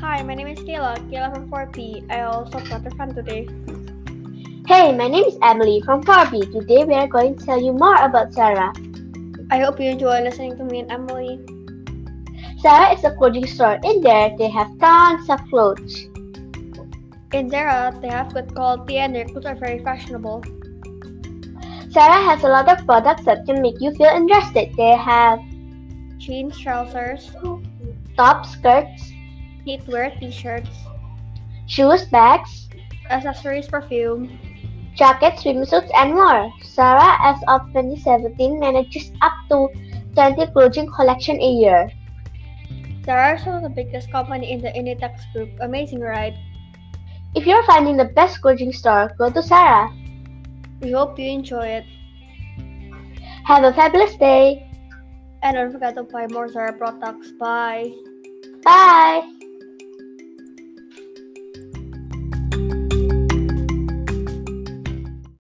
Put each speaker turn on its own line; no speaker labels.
Hi, my name is Kayla, Kayla from 4P. I also got a fun today.
Hey, my name is Emily from 4B. Today we are going to tell you more about Sarah.
I hope you enjoy listening to me and Emily.
Sarah is a clothing store. In there, they have tons of clothes.
In Zara, they have good quality and their clothes are very fashionable.
Sarah has a lot of products that can make you feel interested. They have
Jeans, trousers,
tops, skirts,
knitwear, t-shirts,
shoes, bags,
accessories, perfume.
jackets, swimsuits, and more. Sarah, as of 2017, manages up to 20 clothing collection a year.
Zara is one of the biggest company in the Inditex group. Amazing, right?
If you're finding the best clothing store, go to Sarah.
We hope you enjoy it.
Have a fabulous day.
And don't forget to buy more Zara products. Bye!
Bye.